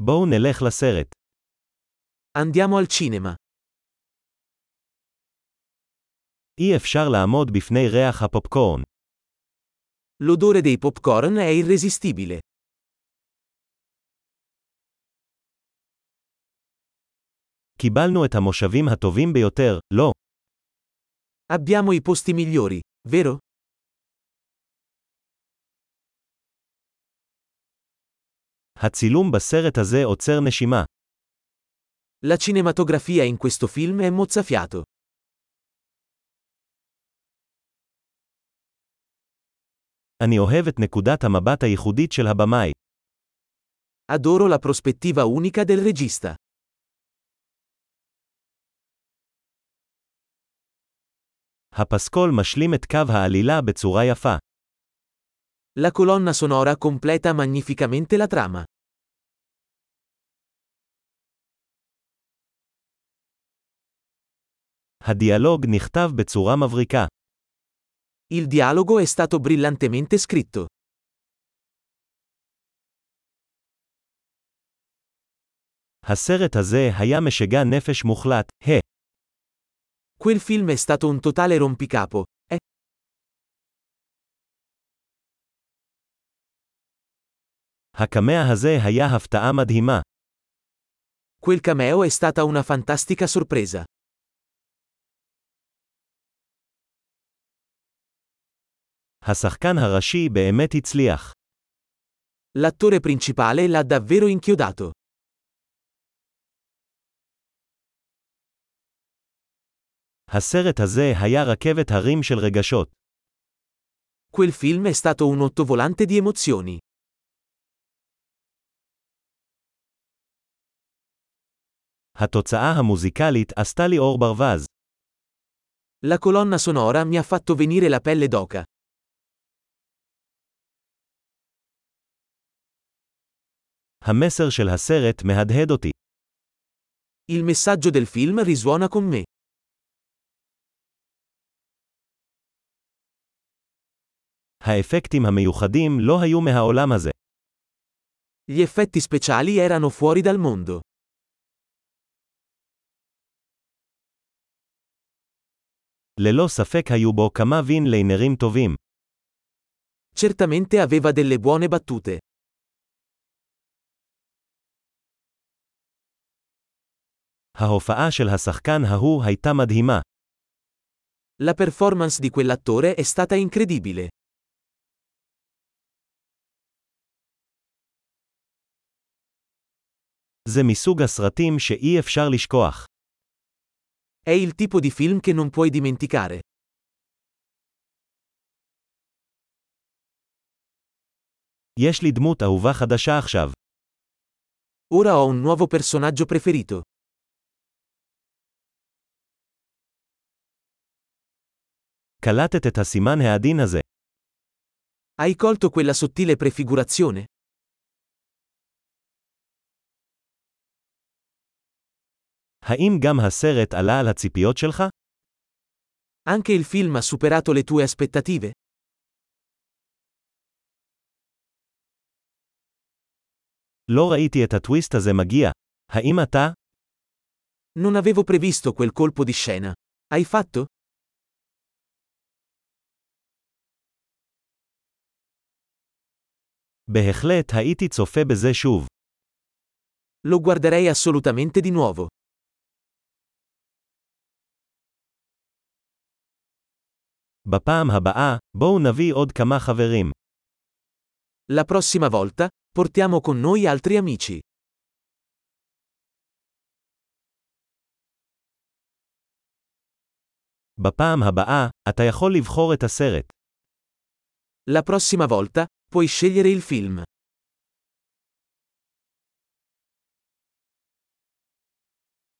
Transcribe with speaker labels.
Speaker 1: בואו נלך לסרט.
Speaker 2: Andiamo al cinema.
Speaker 1: אי אפשר לעמוד בפני ריח הפופקורן.
Speaker 2: L'odore dei popcorn è irresistibile.
Speaker 1: קיבלנו את המושבים הטובים ביותר, לא.
Speaker 2: Abbiamo i posti migliori, vero?
Speaker 1: הצילום בסרט הזה עוצר נשימה.
Speaker 2: La cinematografia in questo film è mozzafiato.
Speaker 1: אני אוהב את נקודת המבט הייחודית של הבמאי.
Speaker 2: Adoro la prospettiva unica del regista.
Speaker 1: הפסקול משלים את קו העלילה בצורה יפה.
Speaker 2: La colonna sonora completa magnificamente la trama.
Speaker 1: הדיאלוג נכתב בצורה מבריקה.
Speaker 2: Il dialogo è stato brillantemente scritto.
Speaker 1: הסרט הזה היה משגע נפש מוחלט, ה.
Speaker 2: Quel film è stato un totale rompicapo. Eh,
Speaker 1: הקמע הזה היה הפתעה מדהימה.
Speaker 2: quel cameo è stata una fantastica sorpresa.
Speaker 1: השחקן הראשי באמת הצליח.
Speaker 2: L'attore principale l'ha davvero inchiodato.
Speaker 1: הסרט הזה היה רכבת הרים של רגשות.
Speaker 2: Quel film è stato un ottovolante di emozioni.
Speaker 1: התוצאה המוזיקלית עשתה לי אור ברווז.
Speaker 2: La colonna sonora mi ha fatto venire la pelle d'oca.
Speaker 1: המסר של הסרט מהדהד אותי.
Speaker 2: Il messaggio del film risuona con me.
Speaker 1: האפקטים המיוחדים לא היו מהעולם הזה.
Speaker 2: Gli effetti speciali erano fuori dal mondo.
Speaker 1: ללא ספק היו בו כמה וינליינרים טובים.
Speaker 2: Certamente aveva delle buone battute.
Speaker 1: ההופעה של השחקן ההוא הייתה מדהימה.
Speaker 2: La performance di quell'attore è stata incredibile.
Speaker 1: זה מסוג הסרטים שאי אפשר לשכוח.
Speaker 2: È il tipo di film che non puoi dimenticare.
Speaker 1: יש לי דמות אהובה חדשה עכשיו.
Speaker 2: Ora ho un nuovo personaggio preferito.
Speaker 1: קלטת את הסימן העדין הזה.
Speaker 2: Hai colto quella sottile prefigurazione?
Speaker 1: האם גם הסרט עלה על הציפיות שלך?
Speaker 2: Anche il film ha superato le tue aspettative?
Speaker 1: לא ראיתי את הטוויסט הזה מגיע. האם אתה?
Speaker 2: Non avevo previsto quel colpo di scena. Hai fatto?
Speaker 1: בהחלט הייתי צופה בזה שוב.
Speaker 2: Lo guarderei assolutamente di nuovo.
Speaker 1: בפעם הבאה, בואו נביא עוד כמה חברים.
Speaker 2: La prossima volta, portiamo con noi altri amici.
Speaker 1: בפעם הבאה, אתה יכול לבחור את הסרט.
Speaker 2: La prossima volta, puoi scegliere il film.